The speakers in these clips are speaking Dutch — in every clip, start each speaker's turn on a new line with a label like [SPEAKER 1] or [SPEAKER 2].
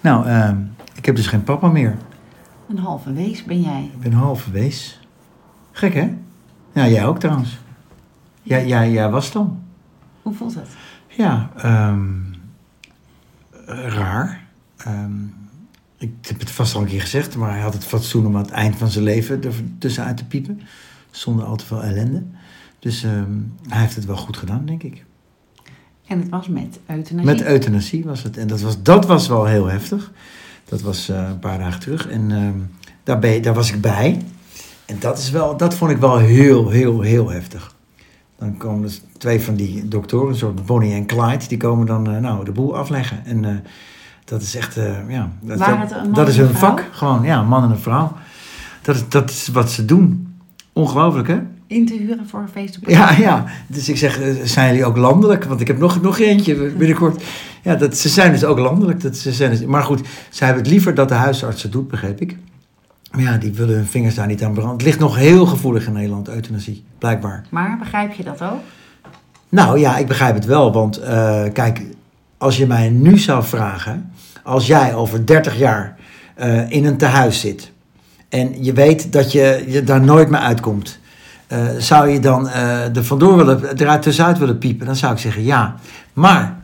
[SPEAKER 1] Nou, ehm, ik heb dus geen papa meer.
[SPEAKER 2] Een halve wees ben jij.
[SPEAKER 1] Ik ben halve wees. Gek, hè? Ja, jij ook trouwens. Ja, ja, ja, was dan.
[SPEAKER 2] Hoe voelt het?
[SPEAKER 1] Ja, ehm, raar. Ehm, ik heb het vast al een keer gezegd, maar hij had het fatsoen om aan het eind van zijn leven er tussenuit te piepen. Zonder al te veel ellende. Dus ehm, hij heeft het wel goed gedaan, denk ik.
[SPEAKER 2] En het was met euthanasie.
[SPEAKER 1] Met euthanasie was het. En dat was, dat was wel heel heftig. Dat was eh, een paar dagen terug. En ehm, daar, ben, je- daar was ik bij. En dat, is wel, dat vond ik wel heel, heel, heel heftig. Dan komen dus twee van die doktoren, een soort Bonnie en Clyde, die komen dan eh, nou, de boel afleggen. En eh, dat is echt, eh, ja, dat,
[SPEAKER 2] Waren
[SPEAKER 1] dat-
[SPEAKER 2] het een man
[SPEAKER 1] dat is
[SPEAKER 2] en
[SPEAKER 1] hun
[SPEAKER 2] een vrouw?
[SPEAKER 1] vak. Gewoon, ja, een man en een vrouw. Dat, is- dat is wat ze doen. Ongelooflijk, hè?
[SPEAKER 2] In te huren voor een feestje.
[SPEAKER 1] Ja, ja. Dus ik zeg, eh, zijn jullie ook landelijk? Want ik heb nog, nog eentje binnenkort. Ja, dat, ze zijn dus ook landelijk. Dat, ze zijn dus, maar goed, ze hebben het liever dat de huisarts het doet, begreep ik. Maar ja, die willen hun vingers daar niet aan branden. Het ligt nog heel gevoelig in Nederland, euthanasie, blijkbaar.
[SPEAKER 2] Maar begrijp je dat ook?
[SPEAKER 1] Nou ja, ik begrijp het wel. Want eh, kijk, als je mij nu zou vragen. Als jij over 30 jaar eh, in een tehuis zit. En je weet dat je, je daar nooit meer uitkomt. eh, zou je dan eh er vandoor willen, eruit tussenuit willen piepen? Dan zou ik zeggen ja. Maar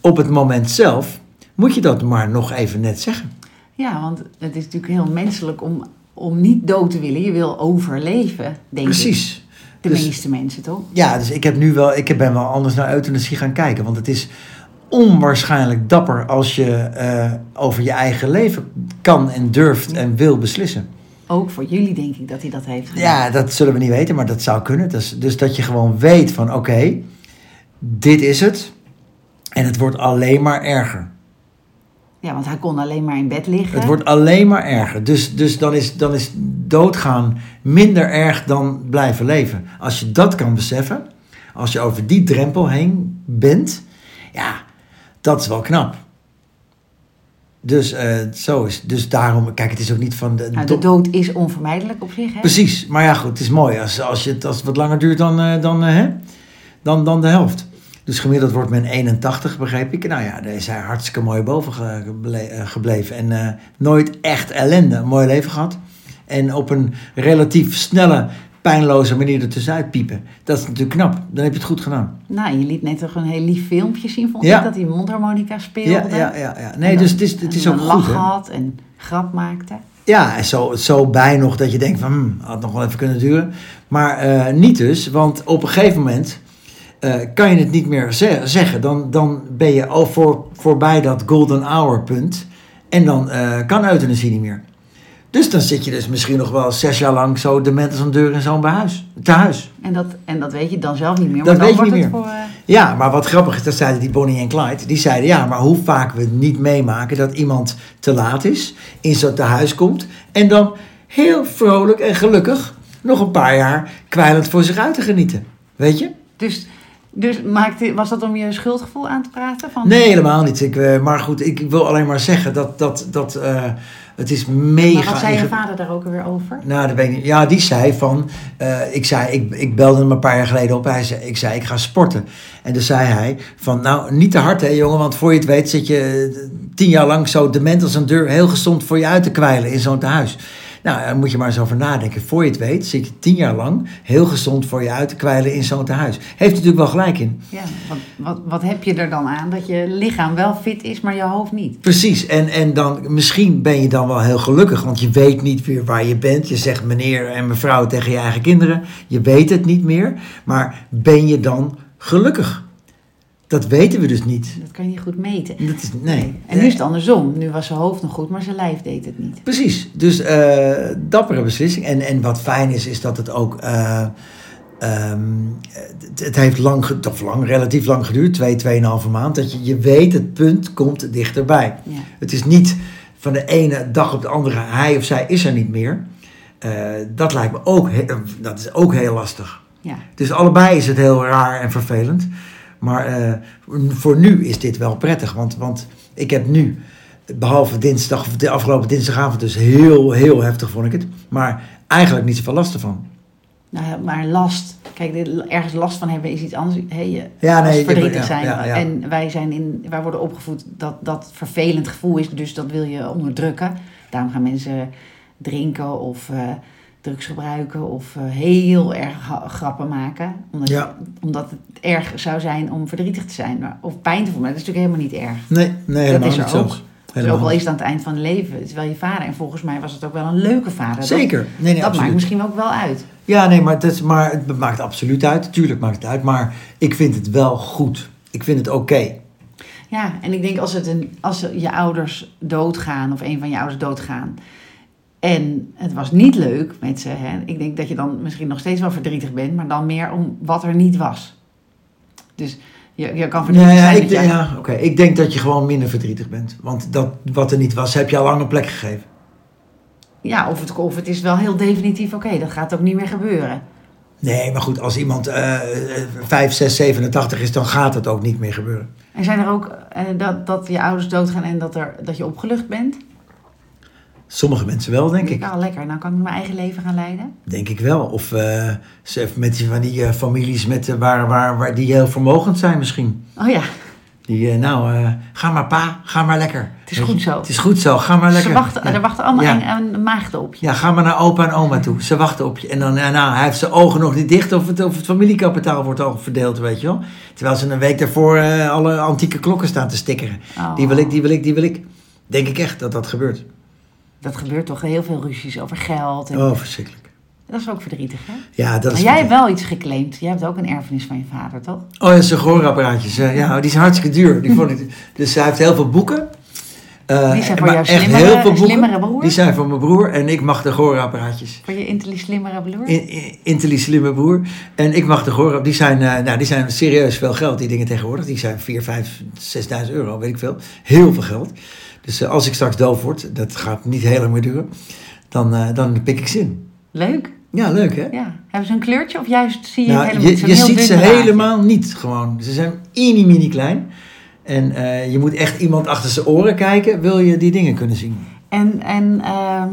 [SPEAKER 1] op het moment zelf moet je dat maar nog even net zeggen.
[SPEAKER 2] Ja, want het is natuurlijk heel menselijk om, om niet dood te willen. Je wil overleven, denk ik.
[SPEAKER 1] Precies.
[SPEAKER 2] De
[SPEAKER 1] Dus-
[SPEAKER 2] meeste mensen toch?
[SPEAKER 1] Ja, dus ik heb nu wel, ik ben wel anders naar euthanasie gaan kijken. Want het is onwaarschijnlijk dapper als je eh, over je eigen leven kan en durft en wil beslissen.
[SPEAKER 2] Ook voor jullie denk ik dat hij dat heeft gedaan.
[SPEAKER 1] Ja, dat zullen we niet weten, maar dat zou kunnen. Dus, dus dat je gewoon weet van oké, dit is het. En het wordt alleen maar erger.
[SPEAKER 2] Ja, want hij kon alleen maar in bed liggen.
[SPEAKER 1] Het wordt alleen maar erger. Dus, dus dan, is, dan is doodgaan minder erg dan blijven leven. Als je dat kan beseffen, als je over die drempel heen bent, ja, dat is wel knap. Dus eh, zo is. Dus daarom, kijk, het is ook niet van de.
[SPEAKER 2] Nou,
[SPEAKER 1] do-
[SPEAKER 2] de dood is onvermijdelijk op zich, hè?
[SPEAKER 1] Precies, maar ja, goed, het is mooi. Als, als, je, het- als het wat langer duurt dan, eh, dan, eh, hè? dan, dan de helft. Dus gemiddeld wordt men 81, begreep ik. Nou ja, daar is hij hartstikke mooi boven ge- geble- eh, gebleven. En eh, nooit echt ellende, een mooi leven gehad. En op een relatief snelle, pijnloze manier ertussenuit piepen. Dat is natuurlijk knap. Dan heb je het goed gedaan.
[SPEAKER 2] Nou, je liet net toch een heel lief filmpje zien, vond
[SPEAKER 1] Ja.
[SPEAKER 2] ik, dat hij mondharmonica speelde.
[SPEAKER 1] Ja, ja, ja. ja.
[SPEAKER 2] En
[SPEAKER 1] Nee,
[SPEAKER 2] dan-
[SPEAKER 1] dus het is, het is
[SPEAKER 2] en
[SPEAKER 1] ook
[SPEAKER 2] een
[SPEAKER 1] goed.
[SPEAKER 2] lach
[SPEAKER 1] hè?
[SPEAKER 2] had en grap maakte.
[SPEAKER 1] Ja, en zo, zo bij nog dat je denkt van, hmm, had nog wel even kunnen duren. Maar eh, niet dus, want op een gegeven moment eh, kan je het niet meer ze- zeggen. Dan, dan ben je al voor, voorbij dat golden hour punt. En dan eh kan euthanasie niet meer. Dus dan zit je dus misschien nog wel zes jaar lang zo dement als een deur in zo'n behuis, tehuis.
[SPEAKER 2] En dat, en dat weet je dan zelf niet meer.
[SPEAKER 1] Dat
[SPEAKER 2] maar dan
[SPEAKER 1] weet je
[SPEAKER 2] wordt
[SPEAKER 1] niet
[SPEAKER 2] het Voor, eh,
[SPEAKER 1] Ja, maar wat grappig is, dat zeiden die Bonnie en Clyde. Die zeiden, ja, maar hoe vaak we niet meemaken dat iemand te laat is, in zo'n tehuis komt en dan heel vrolijk en gelukkig nog een paar jaar kwijlend voor zich uit te genieten. Weet je?
[SPEAKER 2] dus dus maakte, was dat om je schuldgevoel aan te praten? Van,
[SPEAKER 1] Nee, helemaal niet. Ik, eh, maar goed, ik wil alleen maar zeggen dat, dat, dat eh, het is mega...
[SPEAKER 2] Maar wat zei je
[SPEAKER 1] ingewikkeld.
[SPEAKER 2] vader daar ook weer over?
[SPEAKER 1] Nou, dat weet ik niet. Ja, die zei van... eh, ik, zei, ik, ik belde hem een paar jaar geleden op. Hij zei, ik zei, ik ga sporten. En toen zei hij van... Nou, niet te hard hè jongen. Want voor je het weet zit je eh, tien jaar lang zo dement als een deur... heel gezond voor je uit te kwijlen in zo'n tehuis. Nou, daar moet je maar eens over nadenken. Voor je het weet zit je tien jaar lang... heel gezond voor je uit te kwijlen in zo'n tehuis. Heeft hij natuurlijk wel gelijk in.
[SPEAKER 2] Ja, wat, wat, wat heb je er dan aan? Dat je lichaam wel fit is, maar je hoofd niet.
[SPEAKER 1] Precies, en, en dan, misschien ben je dan wel heel gelukkig, want je weet niet meer waar je bent. Je zegt meneer en mevrouw tegen je eigen kinderen, je weet het niet meer. Maar ben je dan gelukkig? Dat weten we dus niet.
[SPEAKER 2] Dat kan je niet goed meten.
[SPEAKER 1] Dat is, nee.
[SPEAKER 2] En nu is het andersom. Nu was zijn hoofd nog goed, maar zijn lijf deed het niet.
[SPEAKER 1] Precies, dus eh, dappere beslissing. En, en wat fijn is, is dat het ook... eh, ehm, het, het heeft lang, ge- of lang, relatief lang geduurd, twee, tweeënhalve maand. Dat je, je weet, het punt komt dichterbij.
[SPEAKER 2] Ja.
[SPEAKER 1] Het is niet van de ene dag op de andere, hij of zij is er niet meer. Eh, dat lijkt me ook, he- eh, dat is ook heel lastig.
[SPEAKER 2] ja.
[SPEAKER 1] Dus allebei is het heel raar en vervelend. Maar eh, voor nu is dit wel prettig. Want, want ik heb nu, behalve dinsdag, of de afgelopen dinsdagavond, dus heel, heel heftig vond ik het. Maar eigenlijk niet zoveel last ervan.
[SPEAKER 2] Nou, ja, maar last. Kijk, dit- ergens last van hebben is iets anders. Hey, je-
[SPEAKER 1] Ja,
[SPEAKER 2] als
[SPEAKER 1] nee,
[SPEAKER 2] verdrietig
[SPEAKER 1] ja,
[SPEAKER 2] zijn.
[SPEAKER 1] ja, ja.
[SPEAKER 2] En wij, zijn in, wij worden opgevoed dat dat vervelend gevoel is, dus dat wil je onderdrukken. Daarom gaan mensen drinken of eh, drugs gebruiken of eh, heel erg ha- grappen maken. Omdat,
[SPEAKER 1] Ja.
[SPEAKER 2] omdat het erg zou zijn om verdrietig te zijn maar- of pijn te voelen. Maar dat is natuurlijk helemaal niet erg.
[SPEAKER 1] Nee, nee helemaal
[SPEAKER 2] is er
[SPEAKER 1] niet
[SPEAKER 2] ook.
[SPEAKER 1] zelfs.
[SPEAKER 2] Dus ook
[SPEAKER 1] Helemaal
[SPEAKER 2] al
[SPEAKER 1] niet.
[SPEAKER 2] is het aan het eind van het leven, het is wel je vader. En volgens mij was het ook wel een leuke vader. Dat-
[SPEAKER 1] Zeker. Nee, nee,
[SPEAKER 2] dat maakt
[SPEAKER 1] absoluut.
[SPEAKER 2] misschien ook wel uit.
[SPEAKER 1] Ja, nee, maar het, is, maar het maakt absoluut uit. Tuurlijk maakt het uit. Maar ik vind het wel goed. Ik vind het oké.
[SPEAKER 2] Ja, en ik denk als, het een, als je ouders doodgaan of een van je ouders doodgaan. En het was niet leuk met ze. Hè? Ik denk dat je dan misschien nog steeds wel verdrietig bent, maar dan meer om wat er niet was. Dus je, je kan verdrietig
[SPEAKER 1] Nee, ja, ik,
[SPEAKER 2] zijn. dat
[SPEAKER 1] denk-
[SPEAKER 2] jij-
[SPEAKER 1] ja, oké. ik denk dat je gewoon minder verdrietig bent. Want dat, wat er niet was, heb je al lang een plek gegeven.
[SPEAKER 2] ja of, het, of het is wel heel definitief, oké, dat gaat ook niet meer gebeuren.
[SPEAKER 1] Nee, maar goed, als iemand eh eh, 5, 6, 87 is, dan gaat het ook niet meer gebeuren.
[SPEAKER 2] En zijn er ook eh, dat, dat je ouders doodgaan en dat, er, dat je opgelucht bent?
[SPEAKER 1] Sommige mensen wel, denk ik.
[SPEAKER 2] Nou, lekker. Nou kan ik mijn eigen leven gaan leiden.
[SPEAKER 1] Denk ik wel. Of eh, ze heeft met die, van die eh, families met, eh, waar, waar, waar, die heel vermogend zijn misschien.
[SPEAKER 2] Oh ja,
[SPEAKER 1] Die, eh, nou, eh, ga maar pa, ga maar lekker.
[SPEAKER 2] Het is
[SPEAKER 1] Weet
[SPEAKER 2] goed
[SPEAKER 1] je?
[SPEAKER 2] zo.
[SPEAKER 1] Het is goed zo, ga maar Ah, lekker.
[SPEAKER 2] Ze wachten,
[SPEAKER 1] ja.
[SPEAKER 2] er wachten allemaal
[SPEAKER 1] Ja.
[SPEAKER 2] een, een maagden op je.
[SPEAKER 1] Ja, ga maar naar opa en oma toe. Ze wachten op je. En dan, eh, nou, hij heeft zijn ogen nog niet dicht of het, of het familiekapitaal wordt al verdeeld, weet je wel. Terwijl ze een week daarvoor eh, alle antieke klokken staan te stickeren.
[SPEAKER 2] Oh.
[SPEAKER 1] Die wil ik, die wil ik, die wil ik. Denk ik echt dat dat gebeurt.
[SPEAKER 2] Dat gebeurt toch heel veel ruzies over geld. En
[SPEAKER 1] Oh, verschrikkelijk.
[SPEAKER 2] Dat is ook verdrietig, hè?
[SPEAKER 1] Ja, dat
[SPEAKER 2] Maar
[SPEAKER 1] is...
[SPEAKER 2] jij hebt wel iets geclaimd. Jij hebt ook een erfenis van je vader, toch?
[SPEAKER 1] Oh ja, zijn gehoorapparaatjes. eh, Ja, die zijn hartstikke duur. Die vond ik... Dus hij heeft heel veel boeken. Eh,
[SPEAKER 2] Die zijn voor
[SPEAKER 1] maar
[SPEAKER 2] jouw
[SPEAKER 1] echt
[SPEAKER 2] slimmere-
[SPEAKER 1] heel veel boeken.
[SPEAKER 2] slimmere broer?
[SPEAKER 1] Die zijn voor mijn broer en ik mag de gehoorapparaatjes.
[SPEAKER 2] Voor je intelligent slimmere broer?
[SPEAKER 1] In- in- Intelli slimme broer. En ik mag de horen. Die zijn, eh, nou, die zijn serieus veel geld, die dingen tegenwoordig. Die zijn 4, 5, 6.000 euro, weet ik veel. Heel veel geld. Dus eh, als ik straks doof word, dat gaat niet heel lang meer duren. Dan, eh, dan pik ik ze in.
[SPEAKER 2] Leuk.
[SPEAKER 1] Ja, leuk hè?
[SPEAKER 2] Ja. Hebben ze een kleurtje of juist zie je het
[SPEAKER 1] Nou,
[SPEAKER 2] helemaal
[SPEAKER 1] je
[SPEAKER 2] niet? Zo'n
[SPEAKER 1] je
[SPEAKER 2] heel
[SPEAKER 1] ziet
[SPEAKER 2] dun
[SPEAKER 1] ze
[SPEAKER 2] draadje.
[SPEAKER 1] helemaal niet gewoon. Ze zijn mini, mini klein. En eh, je moet echt iemand achter zijn oren kijken, wil je die dingen kunnen zien.
[SPEAKER 2] En, en ehm,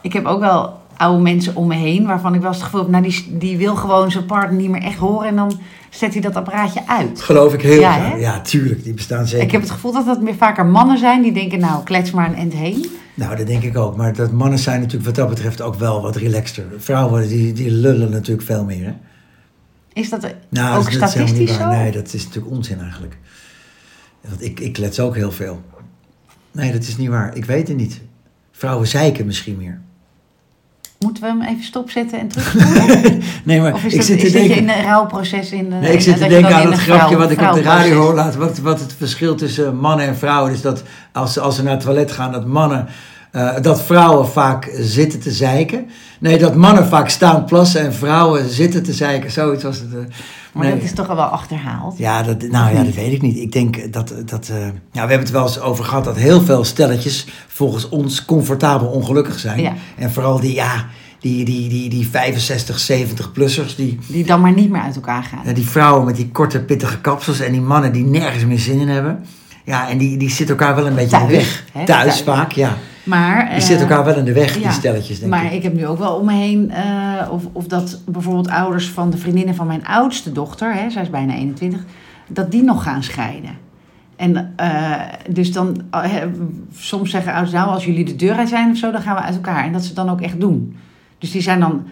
[SPEAKER 2] ik heb ook wel oude mensen om me heen waarvan ik wel eens het gevoel heb... Nou, die, die wil gewoon zijn partner niet meer echt horen en dan zet hij dat apparaatje uit.
[SPEAKER 1] Geloof ik heel
[SPEAKER 2] Ja,
[SPEAKER 1] graag.
[SPEAKER 2] hè?
[SPEAKER 1] Ja, tuurlijk, die bestaan zeker.
[SPEAKER 2] Ik heb het gevoel dat dat meer vaker mannen zijn die denken... Nou, klets maar een end heen.
[SPEAKER 1] Nou, dat denk ik ook. Maar dat mannen zijn natuurlijk wat dat betreft ook wel wat relaxter. Vrouwen die, die lullen natuurlijk veel meer. Hè?
[SPEAKER 2] Is dat
[SPEAKER 1] Nou,
[SPEAKER 2] ook
[SPEAKER 1] dat is- dat is helemaal
[SPEAKER 2] statistisch
[SPEAKER 1] niet
[SPEAKER 2] zo?
[SPEAKER 1] waar. Nee, dat is natuurlijk onzin eigenlijk. Want ik, ik klets ook heel veel. Nee, dat is niet waar. Ik weet het niet. Vrouwen zeiken misschien meer.
[SPEAKER 2] Moeten we hem even stopzetten en terugspoelen?
[SPEAKER 1] Nee, maar
[SPEAKER 2] Of
[SPEAKER 1] ik
[SPEAKER 2] is, dat,
[SPEAKER 1] zit te
[SPEAKER 2] is dat je
[SPEAKER 1] denken...
[SPEAKER 2] in een rouwproces? In, eh,
[SPEAKER 1] Nee, ik
[SPEAKER 2] in-
[SPEAKER 1] zit te
[SPEAKER 2] dat je
[SPEAKER 1] denken
[SPEAKER 2] dan
[SPEAKER 1] aan
[SPEAKER 2] in
[SPEAKER 1] dat
[SPEAKER 2] een
[SPEAKER 1] grapje
[SPEAKER 2] vrouw-
[SPEAKER 1] wat ik op de radio
[SPEAKER 2] vrouwproces-
[SPEAKER 1] hoor laat. Wat, wat het verschil tussen mannen en vrouwen is dat als, ze- als ze naar het toilet gaan, dat mannen. eh, dat vrouwen vaak zitten te zeiken. Nee, dat mannen vaak staan plassen en vrouwen zitten te zeiken. Zoiets was het. eh.
[SPEAKER 2] Maar
[SPEAKER 1] Nee.
[SPEAKER 2] dat is toch al wel achterhaald?
[SPEAKER 1] Ja, dat, nou ja, dat weet ik niet. Ik denk dat. dat eh, nou, we hebben het wel eens over gehad dat heel veel stelletjes volgens ons comfortabel ongelukkig zijn.
[SPEAKER 2] Ja.
[SPEAKER 1] En vooral die, ja, die, die, die, die 65, 70-plussers die.
[SPEAKER 2] Die dan maar niet meer uit elkaar gaan.
[SPEAKER 1] Ja, Eh, die vrouwen met die korte, pittige kapsels en die mannen die nergens meer zin in hebben. Ja, en die, die zitten elkaar wel een beetje in de
[SPEAKER 2] Thuis,
[SPEAKER 1] weg.
[SPEAKER 2] hè?
[SPEAKER 1] Thuis,
[SPEAKER 2] Thuis.
[SPEAKER 1] vaak, ja.
[SPEAKER 2] Maar,
[SPEAKER 1] Die
[SPEAKER 2] eh,
[SPEAKER 1] zitten elkaar wel in de weg, die
[SPEAKER 2] ja.
[SPEAKER 1] stelletjes, denk
[SPEAKER 2] maar
[SPEAKER 1] ik.
[SPEAKER 2] heb nu ook wel om me heen, eh, of, of dat bijvoorbeeld ouders van de vriendinnen van mijn oudste dochter, hè, zij is bijna 21, dat die nog gaan scheiden. En eh, dus dan, eh, hè, soms zeggen ouders, nou als jullie de deur uit zijn of zo, dan gaan we uit elkaar. En dat ze dan ook echt doen. Dus die zijn dan,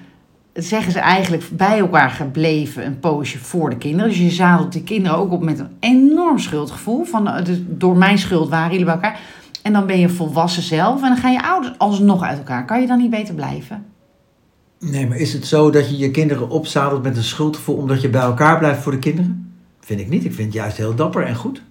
[SPEAKER 2] zeggen ze eigenlijk, bij elkaar gebleven een poosje voor de kinderen. Dus je zadelt die kinderen ook op met een enorm schuldgevoel. Van, eh, dus door mijn schuld waren jullie bij elkaar. En dan ben je volwassen zelf en dan gaan je ouders alsnog uit elkaar. Kan je dan niet beter blijven?
[SPEAKER 1] Nee, maar is het zo dat je je kinderen opzadelt met een schuldgevoel omdat je bij elkaar blijft voor de kinderen? Vind ik niet. Ik vind het juist heel dapper en goed.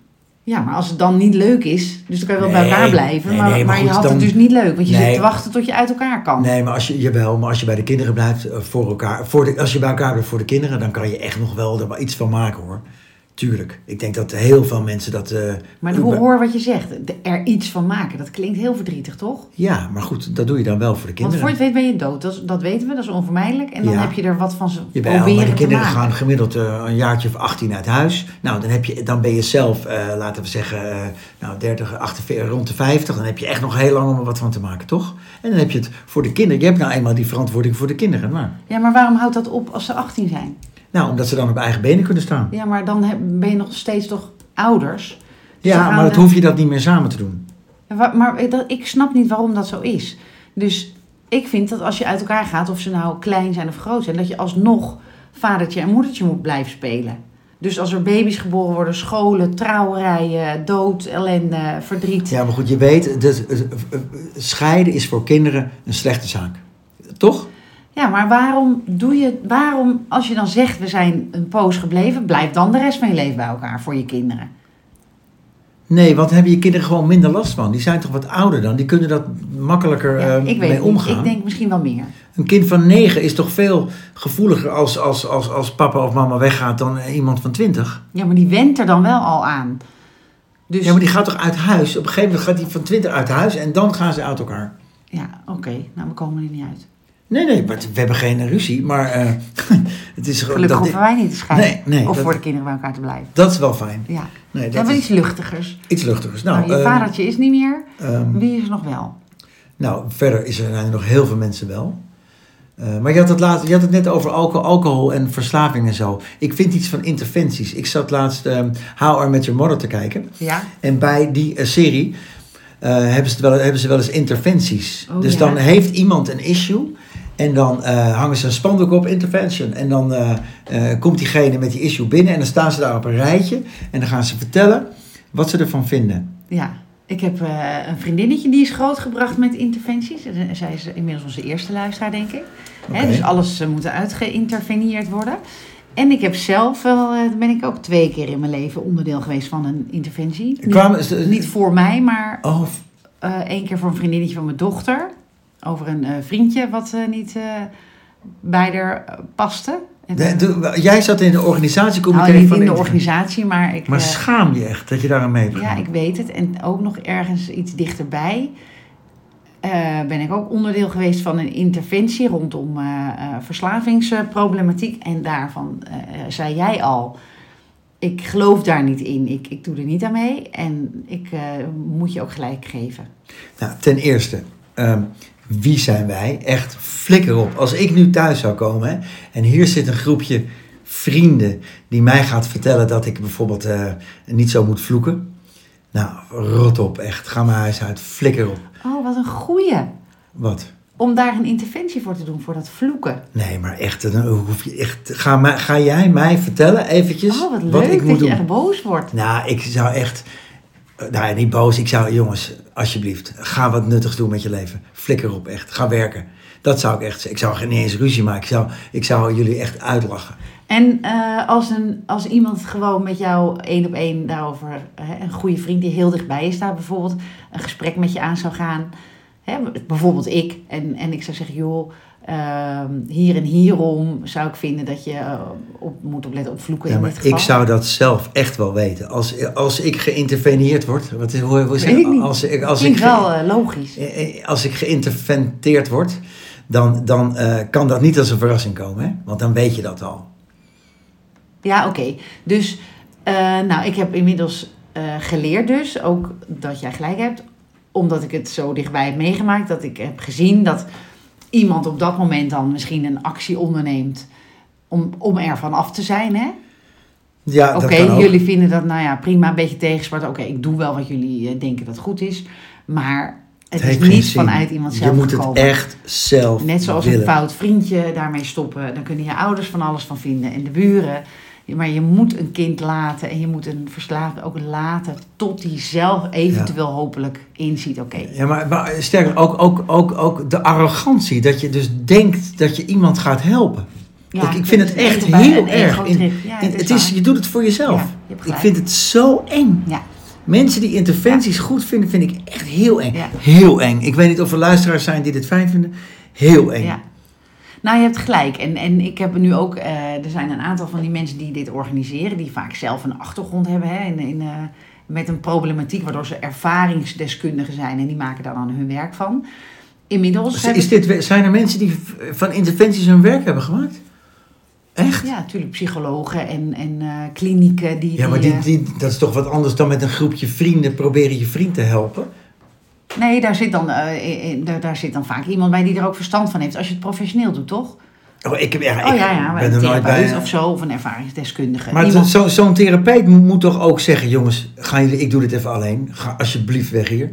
[SPEAKER 2] Ja, maar als het dan niet leuk is, dus dan kan je wel bij
[SPEAKER 1] Nee,
[SPEAKER 2] elkaar blijven.
[SPEAKER 1] nee,
[SPEAKER 2] maar
[SPEAKER 1] nee, maar
[SPEAKER 2] maar je
[SPEAKER 1] goed,
[SPEAKER 2] had
[SPEAKER 1] dan-
[SPEAKER 2] het dus niet leuk, want je
[SPEAKER 1] Nee.
[SPEAKER 2] zit te wachten tot je uit elkaar kan.
[SPEAKER 1] Nee, maar als je, jawel, maar als je bij de kinderen blijft eh, voor elkaar, voor de, als je bij elkaar blijft voor de kinderen, dan kan je echt nog wel er wel iets van maken hoor. Tuurlijk. Ik denk dat heel veel mensen dat. eh,
[SPEAKER 2] Maar hoe hoor wat je zegt, de- er iets van maken, dat klinkt heel verdrietig, toch?
[SPEAKER 1] Ja, maar goed, dat doe je dan wel voor de
[SPEAKER 2] Want
[SPEAKER 1] kinderen.
[SPEAKER 2] voor je het weet ben je dood, dat, is- dat weten we, dat is onvermijdelijk. En dan
[SPEAKER 1] Ja.
[SPEAKER 2] heb je er wat van ze
[SPEAKER 1] Jawel,
[SPEAKER 2] proberen
[SPEAKER 1] maar de
[SPEAKER 2] te
[SPEAKER 1] kinderen
[SPEAKER 2] maken.
[SPEAKER 1] gaan gemiddeld eh, een jaartje of 18 uit huis. Nou, dan, heb je, dan ben je zelf, eh, laten we zeggen, eh, Nou, 30, 48, rond de 50, dan heb je echt nog heel lang om er wat van te maken, toch? En dan heb je het voor de kinderen. Je hebt nou eenmaal die verantwoording voor de kinderen. Nou,
[SPEAKER 2] Ja, maar waarom houdt dat op als ze 18 zijn?
[SPEAKER 1] nou omdat ze dan op eigen benen kunnen staan.
[SPEAKER 2] Ja, maar dan heb- ben je nog steeds toch ouders? Dus dan
[SPEAKER 1] Ja,
[SPEAKER 2] gaan
[SPEAKER 1] maar dat
[SPEAKER 2] we-
[SPEAKER 1] hoef je dat niet meer samen te doen.
[SPEAKER 2] Ja, wa- Maar dat, ik snap niet waarom dat zo is. Dus ik vind dat als je uit elkaar gaat, of ze nou klein zijn of groot zijn, dat je alsnog vadertje en moedertje moet blijven spelen. Dus als er baby's geboren worden, scholen, trouwerijen, dood, ellende, verdriet.
[SPEAKER 1] Ja, maar goed, je weet, dat, eh, eh, eh, scheiden is voor kinderen een slechte zaak. Toch?
[SPEAKER 2] Ja, maar waarom doe je, waarom als je dan zegt we zijn een poos gebleven, blijf dan de rest van je leven bij elkaar voor je kinderen?
[SPEAKER 1] Nee, want hebben je kinderen gewoon minder last van. Die zijn toch wat ouder dan? Die kunnen dat makkelijker
[SPEAKER 2] Ja,
[SPEAKER 1] eh,
[SPEAKER 2] ik weet
[SPEAKER 1] mee
[SPEAKER 2] het
[SPEAKER 1] omgaan.
[SPEAKER 2] niet. Ik denk misschien wel meer.
[SPEAKER 1] Een kind van negen is toch veel gevoeliger als, als, als, als papa of mama weggaat dan iemand van twintig.
[SPEAKER 2] Ja, maar die went er dan wel al aan. Dus
[SPEAKER 1] Ja, maar die gaat toch uit huis? Op een gegeven moment gaat die van twintig uit huis en dan gaan ze uit elkaar.
[SPEAKER 2] ja, oké, nou we komen er niet uit.
[SPEAKER 1] Nee, nee, maar we hebben geen ruzie, maar eh, het is gewoon...
[SPEAKER 2] Gelukkig
[SPEAKER 1] Dat,
[SPEAKER 2] hoeven wij niet te scheiden.
[SPEAKER 1] Nee, nee,
[SPEAKER 2] of
[SPEAKER 1] dat-
[SPEAKER 2] voor de kinderen bij elkaar te blijven.
[SPEAKER 1] dat is wel fijn.
[SPEAKER 2] Ja,
[SPEAKER 1] Nee,
[SPEAKER 2] we
[SPEAKER 1] dat
[SPEAKER 2] hebben
[SPEAKER 1] is
[SPEAKER 2] iets luchtigers.
[SPEAKER 1] iets luchtigers. Nou,
[SPEAKER 2] Nou, je
[SPEAKER 1] eh,
[SPEAKER 2] vadertje is niet meer.
[SPEAKER 1] ehm,
[SPEAKER 2] Wie is er nog wel?
[SPEAKER 1] Nou, verder is er, zijn er nog heel veel mensen wel. Eh, maar je had, het laatst, je had het net over alcohol, alcohol en verslaving en zo. Ik vind iets van interventies. Ik zat laatst ehm How I Met Your Mother te kijken.
[SPEAKER 2] Ja.
[SPEAKER 1] En bij die eh, serie eh, hebben, ze het wel, hebben ze wel eens interventies.
[SPEAKER 2] Oh,
[SPEAKER 1] dus
[SPEAKER 2] ja.
[SPEAKER 1] dan heeft iemand een issue. En dan eh, hangen ze een spandoek op, intervention. En dan eh, eh, komt diegene met die issue binnen. En dan staan ze daar op een rijtje. En dan gaan ze vertellen wat ze ervan vinden.
[SPEAKER 2] Ja, ik heb eh, een vriendinnetje die is grootgebracht met interventies. En Zij is inmiddels onze eerste luisteraar, denk ik. Hè,
[SPEAKER 1] Oké.
[SPEAKER 2] dus alles eh, moet uitgeïnterveneerd worden. En ik heb zelf wel, eh, ben ik ook twee keer in mijn leven onderdeel geweest van een interventie. Niet,
[SPEAKER 1] Kwamen ze...
[SPEAKER 2] niet voor mij, maar
[SPEAKER 1] Oh,
[SPEAKER 2] eh, één keer voor een vriendinnetje van mijn dochter. Over een eh, vriendje wat eh, niet eh, bij haar eh, paste. En,
[SPEAKER 1] Nee, doe- jij zat in de
[SPEAKER 2] nou,
[SPEAKER 1] organisatiecomité
[SPEAKER 2] niet
[SPEAKER 1] van
[SPEAKER 2] in de
[SPEAKER 1] Inter-
[SPEAKER 2] organisatie, maar ik...
[SPEAKER 1] Maar
[SPEAKER 2] eh,
[SPEAKER 1] schaam je echt dat je daar aan mee hebt
[SPEAKER 2] Ja,
[SPEAKER 1] gedaan?
[SPEAKER 2] ik weet het. En ook nog ergens iets dichterbij eh, ben ik ook onderdeel geweest van een interventie rondom eh, eh, verslavingsproblematiek. En daarvan eh, zei jij al, ik geloof daar niet in. Ik, ik doe er niet aan mee. En ik eh, moet je ook gelijk geven.
[SPEAKER 1] Nou, ten eerste, ehm, wie zijn wij? Echt flikker op. Als ik nu thuis zou komen hè, en hier zit een groepje vrienden die mij gaat vertellen dat ik bijvoorbeeld eh, niet zo moet vloeken. Nou, rot op, echt. Ga mijn huis uit, flikker op.
[SPEAKER 2] Oh, wat een goeie.
[SPEAKER 1] Wat?
[SPEAKER 2] Om daar een interventie voor te doen, voor dat vloeken.
[SPEAKER 1] Nee, maar echt, dan hoef je echt. Ga, mij- ga jij mij vertellen eventjes
[SPEAKER 2] Oh, wat leuk
[SPEAKER 1] Dus ik
[SPEAKER 2] dat
[SPEAKER 1] moet
[SPEAKER 2] je
[SPEAKER 1] doen?
[SPEAKER 2] echt boos wordt.
[SPEAKER 1] Nou, ik zou echt. eh, Nou, niet boos. Ik zou, jongens, alsjeblieft, ga wat nuttigs doen met je leven. Flikker op, echt. Ga werken. Dat zou ik echt zeggen. Ik zou geen- niet eens ruzie maken. Ik zou, ik zou jullie echt uitlachen.
[SPEAKER 2] En eh, als, een, als iemand gewoon met jou één op één daarover, hè, een goede vriend die heel dichtbij is daar bijvoorbeeld, een gesprek met je aan zou gaan, hè, bijvoorbeeld ik, en, en ik zou zeggen, joh, ehm, hier en hierom zou ik vinden dat je eh, op, moet opletten op vloeken
[SPEAKER 1] Ja,
[SPEAKER 2] in
[SPEAKER 1] maar
[SPEAKER 2] dit geval.
[SPEAKER 1] ik zou dat zelf echt wel weten. Als, als ik geïnterveneerd word. Wat is, hoe, hoe is
[SPEAKER 2] Weet ik niet.
[SPEAKER 1] Als ik, als ik,
[SPEAKER 2] Klinkt
[SPEAKER 1] ge-
[SPEAKER 2] wel eh, logisch.
[SPEAKER 1] eh, eh, als ik geïnterventeerd word, dan, dan eh, kan dat niet als een verrassing komen. Hè? Want dan weet je dat al.
[SPEAKER 2] Ja, oké. Dus, eh, nou, ik heb inmiddels eh, geleerd dus, ook dat jij gelijk hebt, omdat ik het zo dichtbij heb meegemaakt, dat ik heb gezien dat iemand op dat moment dan misschien een actie onderneemt om, om ervan af te zijn, hè?
[SPEAKER 1] Ja,
[SPEAKER 2] Oké,
[SPEAKER 1] dat kan ook.
[SPEAKER 2] jullie vinden dat, nou ja, prima, een beetje tegenspraak. Oké, ik doe wel wat jullie eh, denken dat goed is, maar het,
[SPEAKER 1] heeft
[SPEAKER 2] is
[SPEAKER 1] geen
[SPEAKER 2] niet
[SPEAKER 1] zin.
[SPEAKER 2] vanuit iemand zelf
[SPEAKER 1] Je moet het
[SPEAKER 2] gekomen.
[SPEAKER 1] echt zelf
[SPEAKER 2] Net zoals
[SPEAKER 1] willen.
[SPEAKER 2] een fout vriendje daarmee stoppen. Dan kunnen je ouders van alles van vinden en de buren. Maar je moet een kind laten en je moet een verslaafde ook laten tot hij zelf eventueel hopelijk inziet. Oké,
[SPEAKER 1] Ja, maar, maar sterker, ook, ook, ook, ook de arrogantie. Dat je dus denkt dat je iemand gaat helpen.
[SPEAKER 2] Ja,
[SPEAKER 1] ik, ik vind het
[SPEAKER 2] is
[SPEAKER 1] echt
[SPEAKER 2] bijna
[SPEAKER 1] heel
[SPEAKER 2] een
[SPEAKER 1] erg.
[SPEAKER 2] egotrip.
[SPEAKER 1] In-
[SPEAKER 2] Ja,
[SPEAKER 1] in-
[SPEAKER 2] het is
[SPEAKER 1] het is,
[SPEAKER 2] waar.
[SPEAKER 1] je doet het voor jezelf.
[SPEAKER 2] Ja, je hebt
[SPEAKER 1] ik
[SPEAKER 2] gelijk.
[SPEAKER 1] vind het zo eng.
[SPEAKER 2] ja.
[SPEAKER 1] Mensen die interventies goed vinden, vind ik echt heel eng.
[SPEAKER 2] Ja.
[SPEAKER 1] Heel eng. Ik weet niet of er luisteraars zijn die dit fijn vinden. Heel eng.
[SPEAKER 2] Ja. Nou, je hebt gelijk. En, en ik heb nu ook, eh, er zijn een aantal van die mensen die dit organiseren, die vaak zelf een achtergrond hebben hè, in, in, eh, met een problematiek, waardoor ze ervaringsdeskundigen zijn en die maken daar dan hun werk van. Inmiddels
[SPEAKER 1] Dus Is-
[SPEAKER 2] heb
[SPEAKER 1] Is
[SPEAKER 2] ik-
[SPEAKER 1] dit, zijn er mensen die v- van interventies hun werk hebben gemaakt? Echt?
[SPEAKER 2] Ja, natuurlijk psychologen en, en eh, klinieken die...
[SPEAKER 1] Ja, maar die,
[SPEAKER 2] eh,
[SPEAKER 1] die, dat is toch wat anders dan met een groepje vrienden proberen je vriend te helpen?
[SPEAKER 2] Nee, daar zit, dan, eh, eh, eh, daar, daar zit dan vaak iemand bij die er ook verstand van heeft. Als je het professioneel doet, toch?
[SPEAKER 1] Oh, ik, heb, ja,
[SPEAKER 2] oh
[SPEAKER 1] ik
[SPEAKER 2] ja, ja, maar
[SPEAKER 1] ben
[SPEAKER 2] een
[SPEAKER 1] er nooit
[SPEAKER 2] therapeut
[SPEAKER 1] bij.
[SPEAKER 2] of zo, of een ervaringsdeskundige.
[SPEAKER 1] Maar
[SPEAKER 2] Iemand-
[SPEAKER 1] het- zo- zo'n therapeut moet, moet toch ook zeggen, jongens, gaan jullie, ik doe dit even alleen. Ga alsjeblieft weg hier.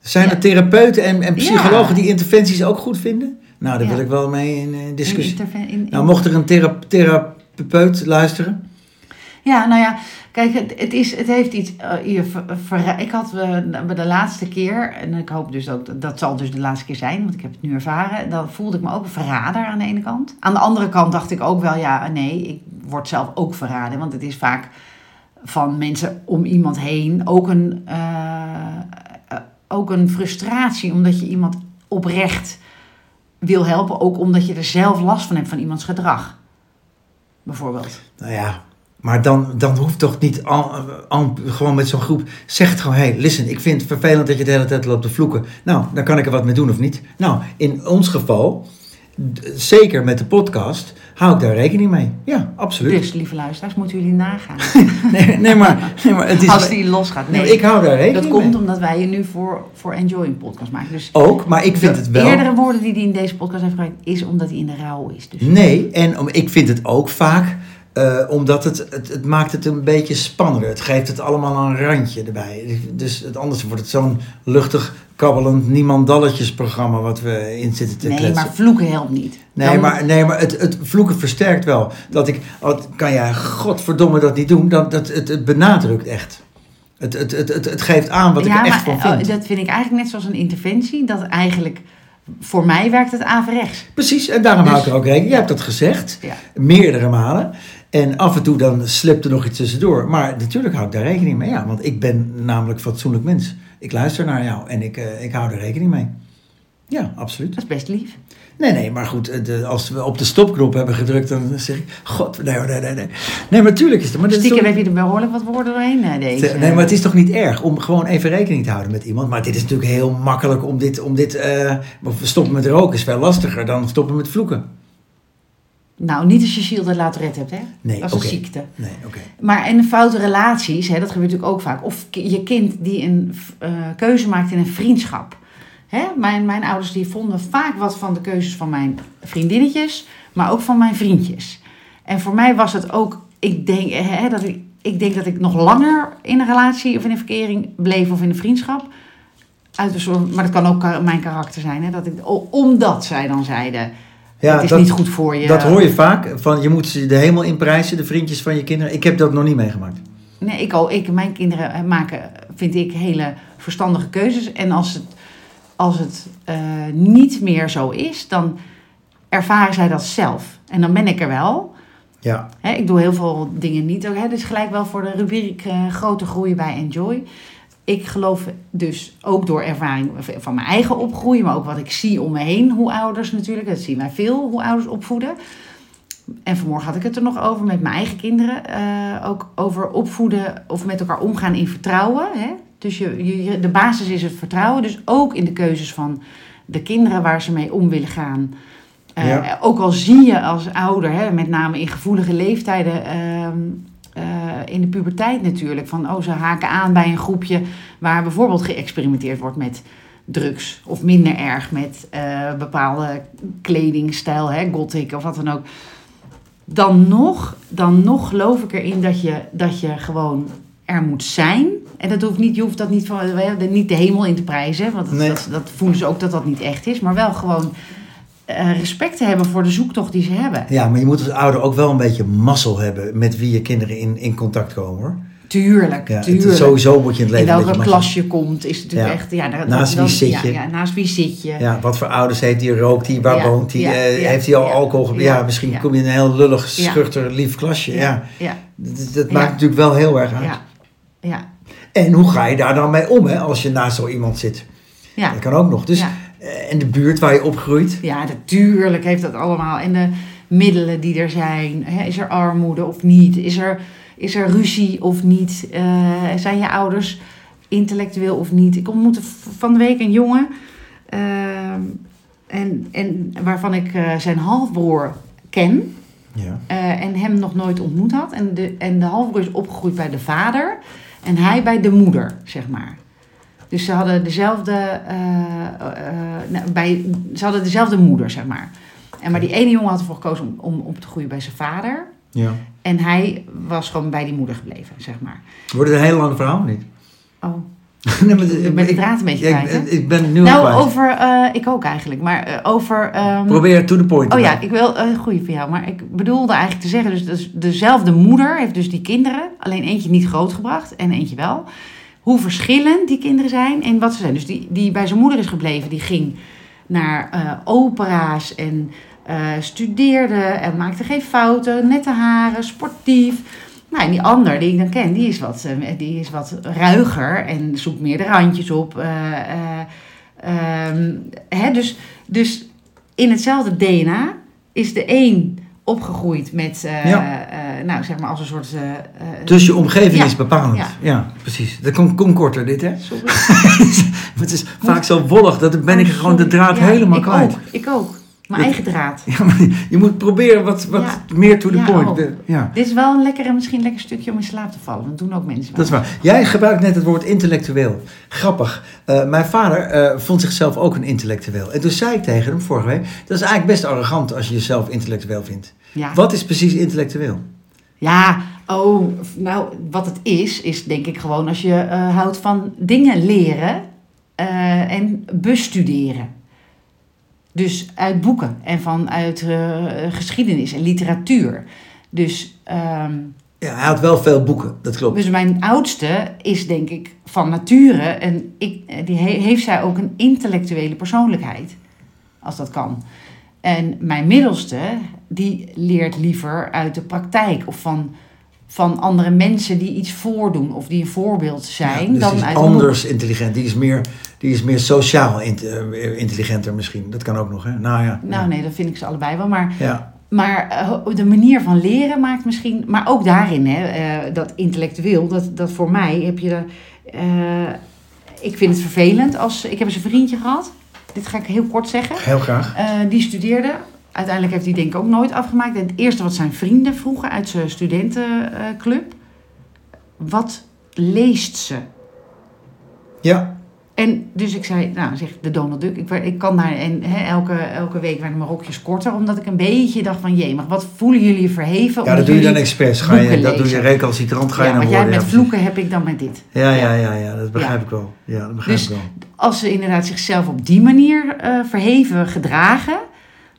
[SPEAKER 1] Zijn
[SPEAKER 2] Ja.
[SPEAKER 1] er therapeuten en, en
[SPEAKER 2] Ja.
[SPEAKER 1] psychologen die interventies ook goed vinden? Nou, daar
[SPEAKER 2] Ja.
[SPEAKER 1] wil ik wel mee in eh, discussie.
[SPEAKER 2] in interve- in- in-
[SPEAKER 1] nou, mocht er een thera- therapeut luisteren?
[SPEAKER 2] Ja, nou ja, kijk, het, het is, het heeft iets. eh, je ver- ver- ik had eh, bij de laatste keer, en ik hoop dus ook dat zal dus de laatste keer zijn, want ik heb het nu ervaren. Dan voelde ik me ook een verrader aan de ene kant. Aan de andere kant dacht ik ook wel, ja, nee, ik word zelf ook verraden. Want het is vaak van mensen om iemand heen ook een, eh, eh, ook een frustratie, omdat je iemand oprecht wil helpen, ook omdat je er zelf last van hebt van iemands gedrag. Bijvoorbeeld.
[SPEAKER 1] Nou ja, maar dan, dan hoeft toch niet al, al- gewoon met zo'n groep. Zeg het gewoon, hé, hey, listen, ik vind het vervelend dat je de hele tijd loopt te vloeken. Nou, dan kan ik er wat mee doen of niet. Nou, in ons geval, d- zeker met de podcast, hou ik daar rekening mee. Ja, absoluut.
[SPEAKER 2] Dus, lieve luisteraars, moeten jullie nagaan.
[SPEAKER 1] Nee, nee, maar, nee, maar het is...
[SPEAKER 2] Als die losgaat.
[SPEAKER 1] Nee,
[SPEAKER 2] Nee,
[SPEAKER 1] maar ik hou daar rekening
[SPEAKER 2] dat komt
[SPEAKER 1] mee.
[SPEAKER 2] omdat wij je nu voor, voor Enjoy een podcast maken. Dus
[SPEAKER 1] Ook, maar Oh, ik vind
[SPEAKER 2] de
[SPEAKER 1] het wel...
[SPEAKER 2] eerdere woorden die hij in deze podcast heeft gebruikt, is omdat hij in de rouw is. Dus
[SPEAKER 1] Nee, en om, ik vind het ook vaak... eh, omdat het, het, het maakt het een beetje spannender. Het geeft het allemaal een randje erbij. Dus het, anders wordt het zo'n luchtig, kabbelend, niemandalletjes programma wat we in zitten te
[SPEAKER 2] nee,
[SPEAKER 1] kletsen.
[SPEAKER 2] maar vloeken helpt niet.
[SPEAKER 1] Nee,
[SPEAKER 2] Dan-
[SPEAKER 1] maar, nee, maar het, het vloeken versterkt wel. Dat ik, wat kan jij godverdomme dat niet doen? Dat, dat, het, het benadrukt echt. Het, het, het, het, het geeft aan wat ik
[SPEAKER 2] ja,
[SPEAKER 1] er echt
[SPEAKER 2] maar,
[SPEAKER 1] van vind.
[SPEAKER 2] oh, dat vind ik eigenlijk net zoals een interventie. Dat eigenlijk, voor mij werkt het averechts.
[SPEAKER 1] Precies, en daarom hou ik
[SPEAKER 2] Dus-
[SPEAKER 1] er ook rekening. Jij hebt dat gezegd,
[SPEAKER 2] Ja.
[SPEAKER 1] meerdere malen. En af en toe dan slipt er nog iets tussendoor. Maar natuurlijk hou ik daar rekening mee. Ja, want ik ben namelijk fatsoenlijk mens. Ik luister naar jou en ik, eh, ik hou er rekening mee. Ja, absoluut.
[SPEAKER 2] Dat is best lief.
[SPEAKER 1] Nee, nee, maar goed, eh, de- als we op de stopknop hebben gedrukt, dan zeg ik... God, nee, hoor, nee, nee, nee. Nee, maar tuurlijk is het... Maar dat is
[SPEAKER 2] Stiekem
[SPEAKER 1] toch-
[SPEAKER 2] heb je er behoorlijk wat woorden doorheen eh, deze.
[SPEAKER 1] Nee, maar het is toch niet erg om gewoon even rekening te houden met iemand. Maar dit is natuurlijk heel makkelijk om dit... Om dit eh, of stoppen met roken is veel lastiger dan stoppen met vloeken.
[SPEAKER 2] Nou, niet als je ziel dat laat red hebt, hè?
[SPEAKER 1] Nee,
[SPEAKER 2] dat is
[SPEAKER 1] oké.
[SPEAKER 2] een ziekte.
[SPEAKER 1] Nee, oké.
[SPEAKER 2] Maar en foute relaties, hè, dat gebeurt natuurlijk ook vaak. Of ki- je kind die een eh, keuze maakt in een vriendschap. Hè? Mijn, mijn ouders die vonden vaak wat van de keuzes van mijn vriendinnetjes, maar ook van mijn vriendjes. En voor mij was het ook, ik denk, eh, hè, dat, ik, ik denk dat ik nog langer in een relatie of in een verkering bleef of in een vriendschap. Uit een soort, maar dat kan ook kar- mijn karakter zijn. Hè, dat ik, o- omdat zij dan zeiden,
[SPEAKER 1] Ja,
[SPEAKER 2] het is
[SPEAKER 1] dat-
[SPEAKER 2] niet goed voor je.
[SPEAKER 1] Dat hoor je vaak, van je moet ze de hemel in prijzen, de vriendjes van je kinderen. Ik heb dat nog niet meegemaakt.
[SPEAKER 2] Nee, ik al. Ik, mijn kinderen eh, maken, vind ik, hele verstandige keuzes. En als het, als het eh, niet meer zo is, dan ervaren zij dat zelf. En dan ben ik er wel.
[SPEAKER 1] Ja.
[SPEAKER 2] Hè, ik doe heel veel dingen niet. Ook, hè, dus gelijk wel voor de rubriek eh, grote groei bij Enjoy. Ik geloof dus ook door ervaring v- van mijn eigen opgroeien, maar ook wat ik zie om me heen, hoe ouders natuurlijk, dat zien wij veel, hoe ouders opvoeden. En vanmorgen had ik het er nog over met mijn eigen kinderen. eh, ook over opvoeden of met elkaar omgaan in vertrouwen. Hè? Dus je, je- je- de basis is het vertrouwen. Dus ook in de keuzes van de kinderen waar ze mee om willen gaan. Eh,
[SPEAKER 1] Ja.
[SPEAKER 2] Ook al zie je als ouder, hè, met name in gevoelige leeftijden, ehm, eh, in de puberteit natuurlijk, van oh, ze haken aan bij een groepje waar bijvoorbeeld geëxperimenteerd wordt met drugs of minder erg met eh, bepaalde kledingstijl, hè, gothic of wat dan ook. Dan nog, dan nog geloof ik erin dat je, dat je gewoon er moet zijn. En dat hoeft niet, je hoeft dat niet, van, eh, niet de hemel in te prijzen, want dat,
[SPEAKER 1] Nee.
[SPEAKER 2] dat, dat voelen ze ook dat dat niet echt is. Maar wel gewoon eh, respect te hebben voor de zoektocht die ze hebben.
[SPEAKER 1] ja, maar je moet als ouder ook wel een beetje mazzel hebben met wie je kinderen in, in contact komen hoor.
[SPEAKER 2] Tuurlijk,
[SPEAKER 1] Ja, het is-
[SPEAKER 2] tuurlijk.
[SPEAKER 1] sowieso moet je in het
[SPEAKER 2] in
[SPEAKER 1] leven een
[SPEAKER 2] welke
[SPEAKER 1] beetje
[SPEAKER 2] klas je komt, is natuurlijk
[SPEAKER 1] Ja.
[SPEAKER 2] echt... Ja, daar-
[SPEAKER 1] Naast
[SPEAKER 2] dan-
[SPEAKER 1] wie zit je?
[SPEAKER 2] Ja, ja, naast wie zit je?
[SPEAKER 1] mazzel- Ja, wat voor ouders heeft hij, rookt hij, waar
[SPEAKER 2] Ja,
[SPEAKER 1] woont hij,
[SPEAKER 2] ja,
[SPEAKER 1] eh,
[SPEAKER 2] ja,
[SPEAKER 1] heeft hij al
[SPEAKER 2] ja,
[SPEAKER 1] alcohol ge- Ja,
[SPEAKER 2] ja,
[SPEAKER 1] misschien
[SPEAKER 2] ja.
[SPEAKER 1] kom je in een heel lullig,
[SPEAKER 2] Ja.
[SPEAKER 1] schuchter, lief klasje. Ja.
[SPEAKER 2] ja,
[SPEAKER 1] Dat, dat
[SPEAKER 2] Ja.
[SPEAKER 1] maakt natuurlijk wel heel erg uit.
[SPEAKER 2] ja, ja.
[SPEAKER 1] En hoe ga je daar dan mee om hè, als je naast zo iemand zit?
[SPEAKER 2] ja.
[SPEAKER 1] Dat kan ook nog. Dus,
[SPEAKER 2] Ja.
[SPEAKER 1] eh, en de buurt waar je opgroeit.
[SPEAKER 2] Ja, natuurlijk heeft dat allemaal. En de middelen die er zijn. Hè, is er armoede of niet? Is er, is er ruzie of niet? Eh, zijn je ouders intellectueel of niet? Ik ontmoette v- van de week een jongen. ehm, en, en waarvan ik eh, zijn halfbroer ken.
[SPEAKER 1] Ja.
[SPEAKER 2] eh, en hem nog nooit ontmoet had. En de, en de halfbroer is opgegroeid bij de vader en hij bij de moeder, zeg maar. Dus ze hadden dezelfde, eh, eh, nou, bij, ze hadden dezelfde moeder, zeg maar. En maar die ene jongen had ervoor gekozen om, om op te groeien bij zijn vader.
[SPEAKER 1] ja.
[SPEAKER 2] En hij was gewoon bij die moeder gebleven, zeg maar.
[SPEAKER 1] Wordt het een heel lang verhaal of niet?
[SPEAKER 2] Oh,
[SPEAKER 1] nee, maar,
[SPEAKER 2] ik ben de draad een beetje kwijt, hè?
[SPEAKER 1] ik, ik ben nu al
[SPEAKER 2] nou,
[SPEAKER 1] kwijt.
[SPEAKER 2] over, eh, ik ook eigenlijk, maar eh, over... ehm,
[SPEAKER 1] Probeer to the point.
[SPEAKER 2] Oh
[SPEAKER 1] te
[SPEAKER 2] ja,
[SPEAKER 1] blijven.
[SPEAKER 2] ik wil een goede voor jou. Maar ik bedoelde eigenlijk te zeggen, dus, dus dezelfde moeder heeft dus die kinderen, alleen eentje niet grootgebracht en eentje wel. Hoe verschillend die kinderen zijn en wat ze zijn. Dus die, die bij zijn moeder is gebleven, die ging naar eh, opera's en eh, studeerde en maakte geen fouten, nette haren, sportief. Nou, en die ander die ik dan ken, die is wat, eh, die is wat ruiger en zoekt meer de randjes op. eh, eh, ehm, hè, dus, dus in hetzelfde DNA is de een opgegroeid met, eh,
[SPEAKER 1] Ja.
[SPEAKER 2] eh, nou zeg maar als een soort. eh, eh,
[SPEAKER 1] Dus je omgeving
[SPEAKER 2] Ja,
[SPEAKER 1] is bepalend. Ja,
[SPEAKER 2] ja.
[SPEAKER 1] precies. Dat komt kom korter, dit hè?
[SPEAKER 2] Sorry.
[SPEAKER 1] het is vaak zo wollig, dat ben ik
[SPEAKER 2] Oh,
[SPEAKER 1] gewoon de
[SPEAKER 2] sorry.
[SPEAKER 1] draad
[SPEAKER 2] Ja,
[SPEAKER 1] helemaal
[SPEAKER 2] ik
[SPEAKER 1] kwijt.
[SPEAKER 2] Ook, ik ook. Mijn
[SPEAKER 1] Ja.
[SPEAKER 2] eigen draad.
[SPEAKER 1] Ja, maar je moet proberen wat, wat
[SPEAKER 2] Ja.
[SPEAKER 1] meer to the
[SPEAKER 2] Ja, oh.
[SPEAKER 1] point.
[SPEAKER 2] ook.
[SPEAKER 1] De- ja,
[SPEAKER 2] Dit is wel een lekker en misschien lekker stukje om in slaap te vallen. Dat doen ook mensen.
[SPEAKER 1] dat is waar. Jij gebruikt net het woord intellectueel. Grappig. Eh, mijn vader eh, vond zichzelf ook een intellectueel. En toen zei ik tegen hem vorige week, dat is eigenlijk best arrogant als je jezelf intellectueel vindt.
[SPEAKER 2] Ja.
[SPEAKER 1] Wat is precies intellectueel?
[SPEAKER 2] Ja, oh, nou, wat het is, is denk ik gewoon als je eh, houdt van dingen leren eh, en bestuderen. Dus uit boeken en vanuit eh, geschiedenis en literatuur. Dus, ehm,
[SPEAKER 1] Ja, hij had wel veel boeken, dat klopt.
[SPEAKER 2] dus mijn oudste is denk ik van nature, en ik, eh, die he- heeft zij ook een intellectuele persoonlijkheid, als dat kan. En mijn middelste, die leert liever uit de praktijk of van, van andere mensen die iets voordoen of die een voorbeeld zijn.
[SPEAKER 1] Ja, dus
[SPEAKER 2] dan
[SPEAKER 1] die is
[SPEAKER 2] uit
[SPEAKER 1] anders intelligent. Die is meer, die is meer sociaal int- eh, intelligenter misschien. Dat kan ook nog, hè? Nou ja.
[SPEAKER 2] Nou nee, dat vind ik ze allebei wel. Maar,
[SPEAKER 1] Ja,
[SPEAKER 2] maar eh, de manier van leren maakt misschien. Maar ook daarin, hè, eh, dat intellectueel, dat, dat voor mij heb je. de, eh, ik vind het vervelend als. Ik heb eens een vriendje gehad. Dit ga ik heel kort zeggen.
[SPEAKER 1] heel graag.
[SPEAKER 2] Eh, die studeerde. Uiteindelijk heeft hij denk ik ook nooit afgemaakt. En het eerste wat zijn vrienden vroegen uit zijn studentenclub... wat leest ze?
[SPEAKER 1] Ja,
[SPEAKER 2] En dus ik zei, nou zeg de Donald Duck, ik, werd- ik kan daar, en hè, elke, elke week werden mijn rokjes korter, omdat ik een beetje dacht van, jee, maar wat voelen jullie verheven?
[SPEAKER 1] ja dat
[SPEAKER 2] omdat
[SPEAKER 1] doe je dan
[SPEAKER 2] jullie-
[SPEAKER 1] expres. Ga je,
[SPEAKER 2] boeken
[SPEAKER 1] dat doe je
[SPEAKER 2] lezen.
[SPEAKER 1] recalcitrant, ga je
[SPEAKER 2] Ja,
[SPEAKER 1] naar
[SPEAKER 2] want jij
[SPEAKER 1] woorden. ja,
[SPEAKER 2] met
[SPEAKER 1] precies.
[SPEAKER 2] vloeken heb ik dan met dit.
[SPEAKER 1] Ja, ja, ja, ja, dat begrijp
[SPEAKER 2] Ja.
[SPEAKER 1] ik wel. Ja, dat begrijp
[SPEAKER 2] Dus-
[SPEAKER 1] ik wel.
[SPEAKER 2] Als ze inderdaad zichzelf op die manier eh, verheven gedragen,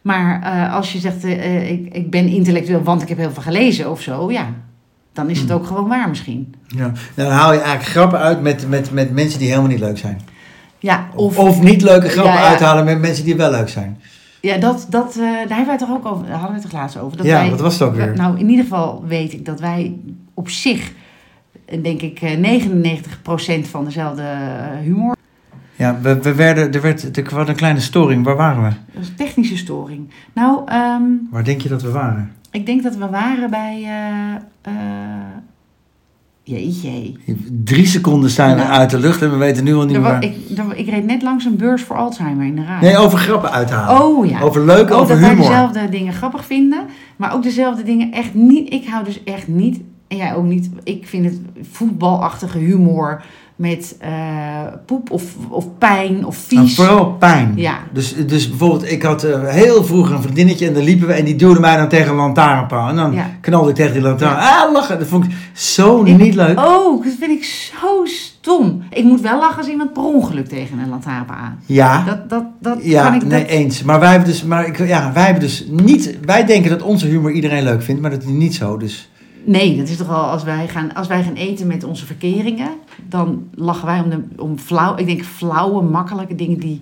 [SPEAKER 2] maar eh, als je zegt, eh, ik, ik ben intellectueel, want ik heb heel veel gelezen of zo, ja, dan is het
[SPEAKER 1] Hmm.
[SPEAKER 2] ook gewoon waar misschien.
[SPEAKER 1] Ja. Nou, dan haal je eigenlijk grappen uit met, met, met mensen die helemaal niet leuk zijn.
[SPEAKER 2] Ja,
[SPEAKER 1] Of,
[SPEAKER 2] of,
[SPEAKER 1] of niet leuke grappen
[SPEAKER 2] Ja, ja.
[SPEAKER 1] uithalen met mensen die wel leuk zijn.
[SPEAKER 2] ja dat, dat, eh, daar hebben wij het toch ook over, daar hadden we het toch laatst over. Dat
[SPEAKER 1] ja,
[SPEAKER 2] wij,
[SPEAKER 1] wat was het ook weer?
[SPEAKER 2] Nou, in ieder geval weet ik dat wij op zich, eh, denk ik, eh, 99% van dezelfde eh, humor.
[SPEAKER 1] Ja, we, we werden, er, werd, er kwam een kleine storing. Waar waren we?
[SPEAKER 2] Dat is een technische storing. Nou, ehm,
[SPEAKER 1] Waar denk je dat we waren?
[SPEAKER 2] ik denk dat we waren bij. eh, eh, jeetje.
[SPEAKER 1] Drie seconden zijn we
[SPEAKER 2] Nou.
[SPEAKER 1] uit de lucht en we weten nu al niet
[SPEAKER 2] Er
[SPEAKER 1] meer.
[SPEAKER 2] wa-
[SPEAKER 1] waar-
[SPEAKER 2] ik, er- ik reed net langs een beurs voor Alzheimer in de raad.
[SPEAKER 1] Nee, oh. over grappen uithalen.
[SPEAKER 2] Ah. oh ja.
[SPEAKER 1] Over leuk,
[SPEAKER 2] ook
[SPEAKER 1] over
[SPEAKER 2] dat wij
[SPEAKER 1] humor.
[SPEAKER 2] dezelfde dingen grappig vinden, maar ook dezelfde dingen echt niet. Ik hou dus echt niet, en jij ook niet, ik vind het voetbalachtige humor met eh, poep of, of pijn of
[SPEAKER 1] Nou,
[SPEAKER 2] vies.
[SPEAKER 1] vooral pijn.
[SPEAKER 2] Ja.
[SPEAKER 1] Dus, dus bijvoorbeeld, ik had eh, heel vroeger een vriendinnetje en dan liepen we en die duwde mij dan tegen een lantaarnpaal. En dan
[SPEAKER 2] Ja.
[SPEAKER 1] knalde ik tegen die lantaarn. Ah, lachen. Dat vond ik zo
[SPEAKER 2] Ik-
[SPEAKER 1] niet leuk.
[SPEAKER 2] Oh, dat vind ik zo stom. Ik moet wel lachen als iemand per ongeluk tegen een lantaarnpaal aan.
[SPEAKER 1] Ja.
[SPEAKER 2] Dat, dat, dat
[SPEAKER 1] ja,
[SPEAKER 2] kan ik
[SPEAKER 1] nee,
[SPEAKER 2] dat-
[SPEAKER 1] eens. Maar wij hebben dus, maar ik, ja, wij hebben dus niet, wij denken dat onze humor iedereen leuk vindt, maar dat is niet zo. Dus
[SPEAKER 2] Nee, dat is toch wel als wij gaan, als wij gaan eten met onze verkeringen, dan lachen wij om, de, om flauw, ik denk flauwe, makkelijke dingen die,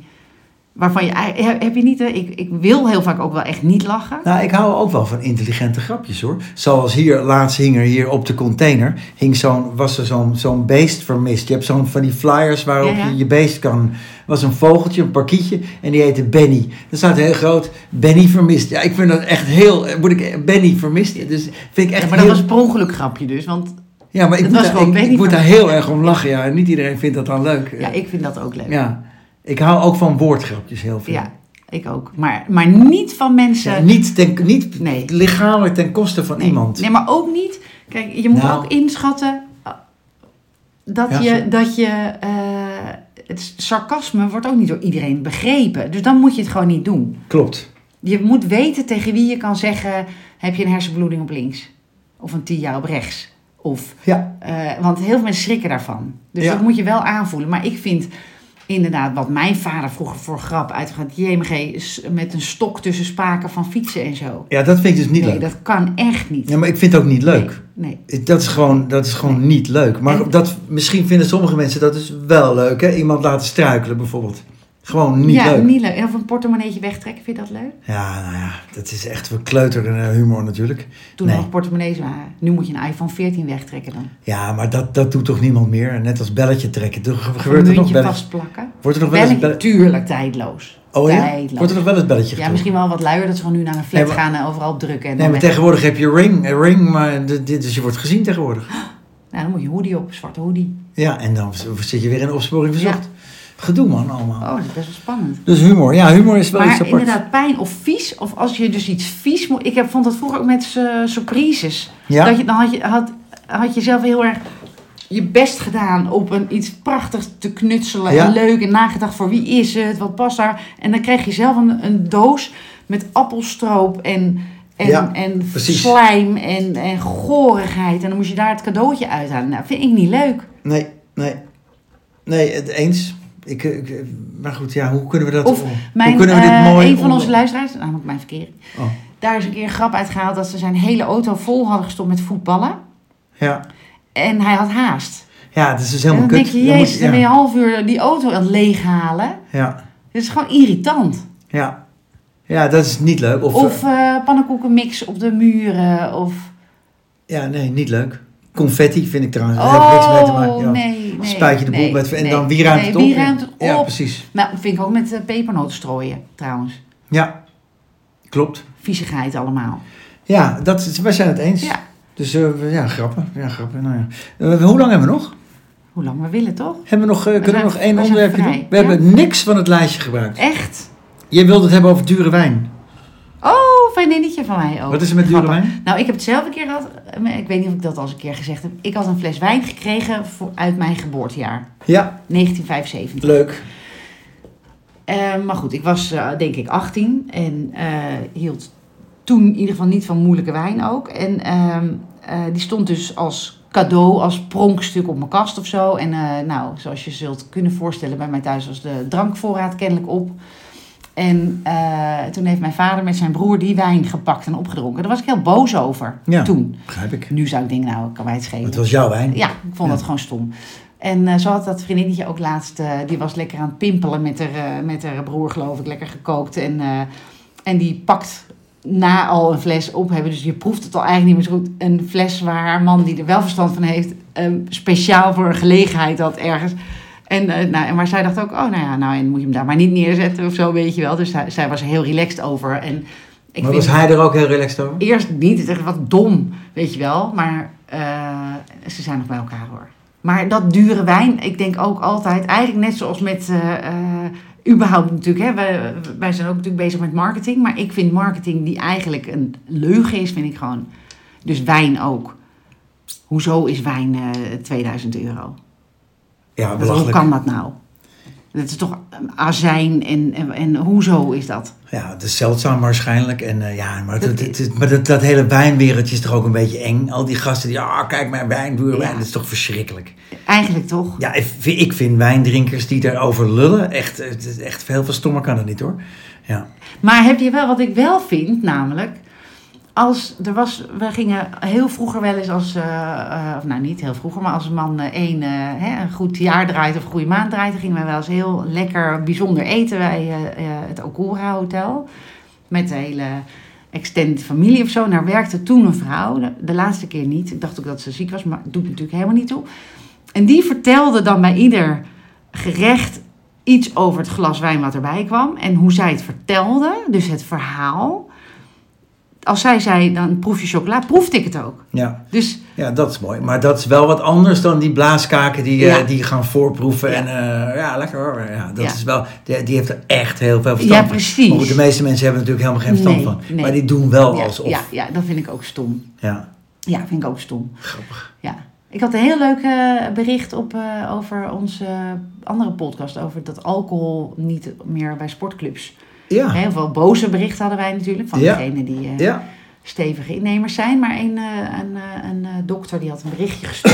[SPEAKER 2] waarvan je, ei- heb heb je niet, hè? ik, ik wil heel vaak ook wel echt niet lachen.
[SPEAKER 1] Nou, ik hou ook wel van intelligente grapjes hoor. Zoals hier, laatst hing er hier op de container, hing zo'n, was er zo'n, zo'n beest vermist. Je hebt zo'n van die flyers waarop
[SPEAKER 2] Ja, ja.
[SPEAKER 1] je je beest kan. was een vogeltje, een parkietje en die heette Benny. Er staat heel groot, Benny vermist. Ja, ik vind dat echt heel, eh, moet ik, Benny vermist. Dus vind ik echt
[SPEAKER 2] Ja, maar dat
[SPEAKER 1] heel-
[SPEAKER 2] was per ongeluk grapje dus, want
[SPEAKER 1] ja, maar ik,
[SPEAKER 2] dat
[SPEAKER 1] moet,
[SPEAKER 2] was
[SPEAKER 1] daar,
[SPEAKER 2] gewoon
[SPEAKER 1] ik, ik
[SPEAKER 2] Benny
[SPEAKER 1] moet daar
[SPEAKER 2] vermist.
[SPEAKER 1] heel erg om lachen. Ja, en niet iedereen vindt dat dan leuk.
[SPEAKER 2] ja, ik vind dat ook leuk.
[SPEAKER 1] Ja. ik hou ook van woordgrapjes heel veel.
[SPEAKER 2] Ja. Ik ook. Maar, maar niet van mensen.
[SPEAKER 1] Ja, niet ten, niet
[SPEAKER 2] Nee.
[SPEAKER 1] lichamelijk ten koste van
[SPEAKER 2] Nee.
[SPEAKER 1] iemand.
[SPEAKER 2] Nee, maar ook niet. Kijk, je moet
[SPEAKER 1] Nou.
[SPEAKER 2] ook inschatten eh, dat
[SPEAKER 1] Ja,
[SPEAKER 2] je.
[SPEAKER 1] zo.
[SPEAKER 2] Dat je eh, het sarcasme wordt ook niet door iedereen begrepen. Dus dan moet je het gewoon niet doen.
[SPEAKER 1] Klopt.
[SPEAKER 2] Je moet weten tegen wie je kan zeggen: heb je een hersenbloeding op links? Of een TIA op rechts? Of,
[SPEAKER 1] Ja.
[SPEAKER 2] eh, want heel veel mensen schrikken daarvan. Dus
[SPEAKER 1] Ja.
[SPEAKER 2] dat moet je wel aanvoelen. Maar ik vind inderdaad wat mijn vader vroeger voor grap uitgaat: JMG s- met een stok tussen spaken van fietsen en zo.
[SPEAKER 1] ja, dat vind ik dus niet
[SPEAKER 2] nee,
[SPEAKER 1] leuk.
[SPEAKER 2] dat kan echt niet.
[SPEAKER 1] Ja, maar ik vind het ook niet leuk.
[SPEAKER 2] Nee, nee.
[SPEAKER 1] Dat is gewoon, dat is gewoon niet leuk. Maar
[SPEAKER 2] En-
[SPEAKER 1] dat, misschien vinden sommige mensen dat dus wel leuk. Hè? Iemand laten struikelen bijvoorbeeld. Gewoon niet
[SPEAKER 2] ja,
[SPEAKER 1] leuk.
[SPEAKER 2] niet leuk. En of een portemonneetje wegtrekken, vind je dat leuk?
[SPEAKER 1] Ja, nou ja, dat is echt voor kleuter eh, humor natuurlijk.
[SPEAKER 2] Toen
[SPEAKER 1] Nee.
[SPEAKER 2] nog portemonnees waren. Nu moet je een iPhone 14 wegtrekken dan.
[SPEAKER 1] Ja, maar dat, dat doet toch niemand meer? Net als belletje trekken. Toch
[SPEAKER 2] een
[SPEAKER 1] gebeurt er nog
[SPEAKER 2] muntje
[SPEAKER 1] belletje?
[SPEAKER 2] vastplakken.
[SPEAKER 1] Wordt er nog wel eens
[SPEAKER 2] Belletje,
[SPEAKER 1] belletje?
[SPEAKER 2] tuurlijk, tijdloos.
[SPEAKER 1] Oh ja?
[SPEAKER 2] Tijdloos.
[SPEAKER 1] Wordt er nog wel eens belletje
[SPEAKER 2] Ja,
[SPEAKER 1] getrokken?
[SPEAKER 2] misschien wel wat luier dat ze gewoon nu naar een flat
[SPEAKER 1] Nee, maar-
[SPEAKER 2] gaan en overal op drukken.
[SPEAKER 1] Nee,
[SPEAKER 2] En dan
[SPEAKER 1] maar
[SPEAKER 2] weg.
[SPEAKER 1] tegenwoordig heb je ring, eh, ring maar dit, dit- dus je wordt gezien tegenwoordig.
[SPEAKER 2] Nou, dan moet je een hoodie op, een zwarte hoodie.
[SPEAKER 1] Ja, en dan zit je weer in opsporing verzocht. Gedoe man, allemaal.
[SPEAKER 2] Oh, dat is best wel spannend.
[SPEAKER 1] Dus humor, ja, humor is wel iets
[SPEAKER 2] Maar
[SPEAKER 1] apart.
[SPEAKER 2] inderdaad, pijn of vies, of als je dus iets vies moet... Ik heb, vond dat vroeger ook met eh, surprises.
[SPEAKER 1] Ja?
[SPEAKER 2] Dat je, dan had je, had, had je zelf heel erg je best gedaan op een, iets prachtigs te knutselen.
[SPEAKER 1] Ja.
[SPEAKER 2] En leuk en nagedacht voor wie is het, wat past daar. En dan kreeg je zelf een, een doos met appelstroop en, en,
[SPEAKER 1] Ja,
[SPEAKER 2] en
[SPEAKER 1] precies.
[SPEAKER 2] slijm en, en gorigheid. En dan moest je daar het cadeautje uithalen. Nou, vind ik niet leuk.
[SPEAKER 1] Nee, nee. Nee, het eens. Ik, ik- maar goed, ja, hoe kunnen we dat...
[SPEAKER 2] Of
[SPEAKER 1] om-
[SPEAKER 2] Mijn,
[SPEAKER 1] hoe kunnen we dit
[SPEAKER 2] eh,
[SPEAKER 1] mooi...
[SPEAKER 2] een van
[SPEAKER 1] om-
[SPEAKER 2] onze luisteraars, namelijk mijn verkering,
[SPEAKER 1] Oh,
[SPEAKER 2] daar is een keer een grap uitgehaald dat ze zijn hele auto vol hadden gestopt met voetballen.
[SPEAKER 1] ja.
[SPEAKER 2] En hij had haast.
[SPEAKER 1] ja, het is dus
[SPEAKER 2] En
[SPEAKER 1] helemaal
[SPEAKER 2] dan
[SPEAKER 1] kut.
[SPEAKER 2] denk je,
[SPEAKER 1] Dan moet
[SPEAKER 2] jezus, dan ben je een half uur die auto aan het leeghalen.
[SPEAKER 1] ja,
[SPEAKER 2] Dit is gewoon irritant.
[SPEAKER 1] ja. Ja, dat is niet leuk. Of,
[SPEAKER 2] Of, eh, pannenkoekenmix op de muren. Of...
[SPEAKER 1] Ja, nee, niet leuk. Confetti vind ik trouwens. Daar heb ik niks mee te maken.
[SPEAKER 2] Oh,
[SPEAKER 1] Ja.
[SPEAKER 2] nee, nee.
[SPEAKER 1] Spuit je de boel
[SPEAKER 2] nee,
[SPEAKER 1] met... En
[SPEAKER 2] nee,
[SPEAKER 1] dan wie ruimt
[SPEAKER 2] nee,
[SPEAKER 1] het op?
[SPEAKER 2] Wie ruimt het op?
[SPEAKER 1] Ja, precies.
[SPEAKER 2] Nou, vind ik ook met eh, pepernoten strooien, trouwens.
[SPEAKER 1] Ja, klopt.
[SPEAKER 2] Viezigheid allemaal.
[SPEAKER 1] Ja, dat, is- wij zijn het eens.
[SPEAKER 2] Ja,
[SPEAKER 1] Dus eh, we- ja, grappen. Ja, grappen. Nou ja. Eh, hoe lang hebben we nog?
[SPEAKER 2] hoe lang we willen, toch?
[SPEAKER 1] Hebben we nog eh, kunnen
[SPEAKER 2] zijn-
[SPEAKER 1] we nog één
[SPEAKER 2] we zijn
[SPEAKER 1] onderwerpje
[SPEAKER 2] vrij,
[SPEAKER 1] doen? We
[SPEAKER 2] ja.
[SPEAKER 1] hebben niks van het lijstje gebruikt.
[SPEAKER 2] Echt?
[SPEAKER 1] Jij wilde het hebben over dure wijn.
[SPEAKER 2] Oh, vriendinnetje van mij ook.
[SPEAKER 1] Wat is er met dure
[SPEAKER 2] Grappig.
[SPEAKER 1] wijn?
[SPEAKER 2] Nou, ik heb het zelf een keer gehad. eh, Ik weet niet of ik dat al eens een keer gezegd heb. Ik had een fles wijn gekregen voor, uit mijn geboortejaar.
[SPEAKER 1] Ja,
[SPEAKER 2] 1975.
[SPEAKER 1] leuk.
[SPEAKER 2] Eh, maar goed, ik was eh, denk ik 18 en eh, hield toen in ieder geval niet van moeilijke wijn ook. En ehm, eh, die stond dus als cadeau, als pronkstuk op mijn kast of zo. En eh, nou, zoals je zult kunnen voorstellen, bij mij thuis was de drankvoorraad kennelijk op. En eh, toen heeft mijn vader met zijn broer die wijn gepakt en opgedronken. Daar was ik heel boos over
[SPEAKER 1] Ja.
[SPEAKER 2] toen.
[SPEAKER 1] Begrijp ik.
[SPEAKER 2] Nu zou ik denken, nou, kan mij het schelen.
[SPEAKER 1] Het was jouw wijn.
[SPEAKER 2] Ja, ik vond
[SPEAKER 1] Ja.
[SPEAKER 2] dat gewoon stom. En eh, zo had dat vriendinnetje ook laatst, eh, die was lekker aan het pimpelen met haar, eh, met haar broer, geloof ik, lekker gekookt. En, eh, en die pakt na al een fles op hebben, dus je proeft het al eigenlijk niet meer zo goed. Een fles waar haar man, die er wel verstand van heeft, eh, speciaal voor een gelegenheid had ergens. En, eh, nou, en maar zij dacht ook, oh nou ja, nou en moet je hem daar maar niet neerzetten of zo, weet je wel. Dus zij, zij was er heel relaxed over. En ik
[SPEAKER 1] maar
[SPEAKER 2] vind-
[SPEAKER 1] was hij er ook heel relaxed over?
[SPEAKER 2] Eerst niet, het is echt wat dom, weet je wel. Maar eh, ze zijn nog bij elkaar hoor. Maar dat dure wijn, ik denk ook altijd, eigenlijk net zoals met, eh, eh, überhaupt natuurlijk, hè, wij, wij zijn ook natuurlijk bezig met marketing. Maar ik vind marketing die eigenlijk een leugen is, vind ik gewoon. Dus wijn ook. Hoezo is wijn eh 2000 euro?
[SPEAKER 1] Ja,
[SPEAKER 2] Dat- Hoe
[SPEAKER 1] belachelijk.
[SPEAKER 2] kan dat nou? Dat is toch eh, azijn en, en, en hoezo is dat?
[SPEAKER 1] Ja, het is zeldzaam waarschijnlijk. En eh, ja, maar, dat, dat, dat- maar dat, dat hele wijnwereldje is toch ook een beetje eng? Al die gasten die, ah, kijk mijn wijn, dure wijn.
[SPEAKER 2] Ja.
[SPEAKER 1] Dat is toch verschrikkelijk?
[SPEAKER 2] Eigenlijk toch?
[SPEAKER 1] Ja, ik vind, ik vind wijndrinkers die daarover lullen, echt, eh, het is echt heel veel stommer kan dat niet hoor. Ja,
[SPEAKER 2] Maar heb je wel wat ik wel vind, namelijk. Als er was, we gingen heel vroeger wel eens als, eh, eh, of nou niet heel vroeger, maar als een man eh, één, eh, hè, een goed jaar draait of een goede maand draait, dan gingen wij wel eens heel lekker bijzonder eten bij eh, eh, het Okura Hotel. Met de hele extended familie of zo. En daar werkte toen een vrouw, de, de laatste keer niet. Ik dacht ook dat ze ziek was, maar doet natuurlijk helemaal niet toe. En die vertelde dan bij ieder gerecht iets over het glas wijn wat erbij kwam en hoe zij het vertelde, dus het verhaal. als zij zei, dan proef je chocola, proefde ik het ook.
[SPEAKER 1] Ja.
[SPEAKER 2] Dus
[SPEAKER 1] ja, dat is mooi. Maar dat is wel wat anders dan die blaaskaken die, eh,
[SPEAKER 2] Ja.
[SPEAKER 1] die gaan voorproeven.
[SPEAKER 2] Ja.
[SPEAKER 1] En eh, ja, lekker hoor. Ja, dat
[SPEAKER 2] Ja.
[SPEAKER 1] Is wel, die, die heeft er echt heel veel verstand
[SPEAKER 2] Ja, precies.
[SPEAKER 1] Van. Maar goed, de meeste mensen hebben natuurlijk helemaal geen verstand
[SPEAKER 2] Nee,
[SPEAKER 1] van.
[SPEAKER 2] nee.
[SPEAKER 1] Maar die doen wel
[SPEAKER 2] ja,
[SPEAKER 1] alsof.
[SPEAKER 2] ja, ja, dat vind ik ook stom.
[SPEAKER 1] ja.
[SPEAKER 2] Ja, vind ik ook stom.
[SPEAKER 1] Grappig.
[SPEAKER 2] Ja. Ik had een heel leuk eh, bericht op, eh, over onze andere podcast. Over dat alcohol niet meer bij sportclubs.
[SPEAKER 1] Ja.
[SPEAKER 2] Heel veel boze berichten hadden wij natuurlijk. Van
[SPEAKER 1] Ah. Ja.
[SPEAKER 2] degene die eh,
[SPEAKER 1] Ja.
[SPEAKER 2] stevige innemers zijn. Maar een, eh, een, eh, een eh, dokter die had een berichtje gestuurd.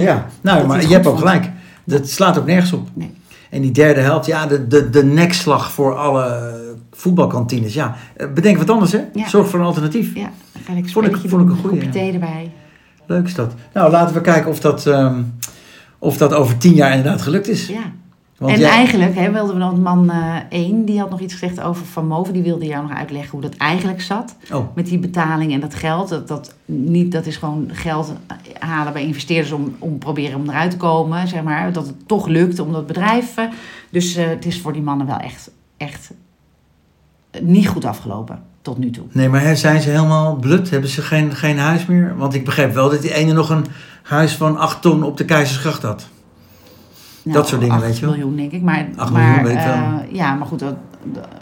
[SPEAKER 1] ja. Nou,
[SPEAKER 2] Dat
[SPEAKER 1] maar
[SPEAKER 2] is
[SPEAKER 1] je
[SPEAKER 2] goed
[SPEAKER 1] hebt ook
[SPEAKER 2] voor-
[SPEAKER 1] gelijk. Dat slaat ook nergens op.
[SPEAKER 2] Nee.
[SPEAKER 1] En die derde helft, ja, de, de, de nekslag voor alle voetbalkantines. Ja, Eh, bedenk wat anders, hè?
[SPEAKER 2] Ja.
[SPEAKER 1] Zorg voor een alternatief.
[SPEAKER 2] Ja, dan ga ik
[SPEAKER 1] Vond ik-
[SPEAKER 2] spelletje
[SPEAKER 1] vond ik
[SPEAKER 2] doen,
[SPEAKER 1] een goeie,
[SPEAKER 2] kopje
[SPEAKER 1] ja.
[SPEAKER 2] thee erbij.
[SPEAKER 1] Leuk is dat. Nou, laten we kijken of dat, ehm, of dat over tien jaar inderdaad gelukt is.
[SPEAKER 2] Ja.
[SPEAKER 1] Want
[SPEAKER 2] en
[SPEAKER 1] jij-
[SPEAKER 2] eigenlijk hè, wilden we dan man eh 1, die had nog iets gezegd over Van Moven. Die wilde jou nog uitleggen hoe dat eigenlijk zat.
[SPEAKER 1] Oh,
[SPEAKER 2] Met die betaling en dat geld. Dat, dat, niet, dat is gewoon geld halen bij investeerders om, om proberen om eruit te komen. Zeg maar. Dat het toch lukt om dat bedrijf. eh, Dus eh, het is voor die mannen wel echt, echt niet goed afgelopen tot nu toe.
[SPEAKER 1] nee, maar hè, zijn ze helemaal blut? Hebben ze geen, geen huis meer? Want ik begreep wel dat die ene nog een huis van acht ton op de Keizersgracht had. Dat soort dingen,
[SPEAKER 2] Nou, acht
[SPEAKER 1] weet je wel.
[SPEAKER 2] miljoen denk ik. Maar,
[SPEAKER 1] Acht
[SPEAKER 2] maar,
[SPEAKER 1] miljoen, weet ik wel.
[SPEAKER 2] eh, Ja, maar goed, dat-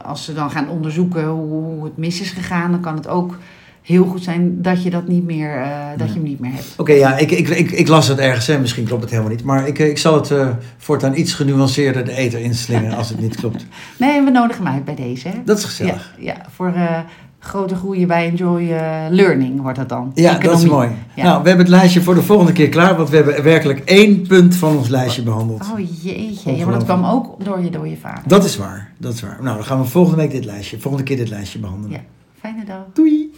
[SPEAKER 2] als ze dan gaan onderzoeken hoe het mis is gegaan... dan kan het ook heel goed zijn dat je dat niet meer, eh, dat je hem niet meer hebt.
[SPEAKER 1] Oké, ja, ik, ik, ik, ik las het ergens en misschien klopt het helemaal niet. Maar ik, eh, ik zal het eh, voortaan iets genuanceerder de eter inslingen als het niet klopt.
[SPEAKER 2] Nee, we nodigen hem uit bij deze. Hè?
[SPEAKER 1] Dat is gezellig.
[SPEAKER 2] Ja, ja voor eh, grote groeien bij Enjoy eh, Learning wordt dat dan.
[SPEAKER 1] Ja, dat is
[SPEAKER 2] Economie.
[SPEAKER 1] mooi.
[SPEAKER 2] Ja.
[SPEAKER 1] Nou, we hebben het lijstje voor de volgende keer klaar, want we hebben werkelijk één punt van ons lijstje behandeld.
[SPEAKER 2] Oh jeetje, ja, maar dat kwam ook door je, door je vader.
[SPEAKER 1] Dat is waar, dat is waar. Nou, dan gaan we volgende week dit lijstje, volgende keer dit lijstje behandelen.
[SPEAKER 2] Ja, fijne dag.
[SPEAKER 1] Doei!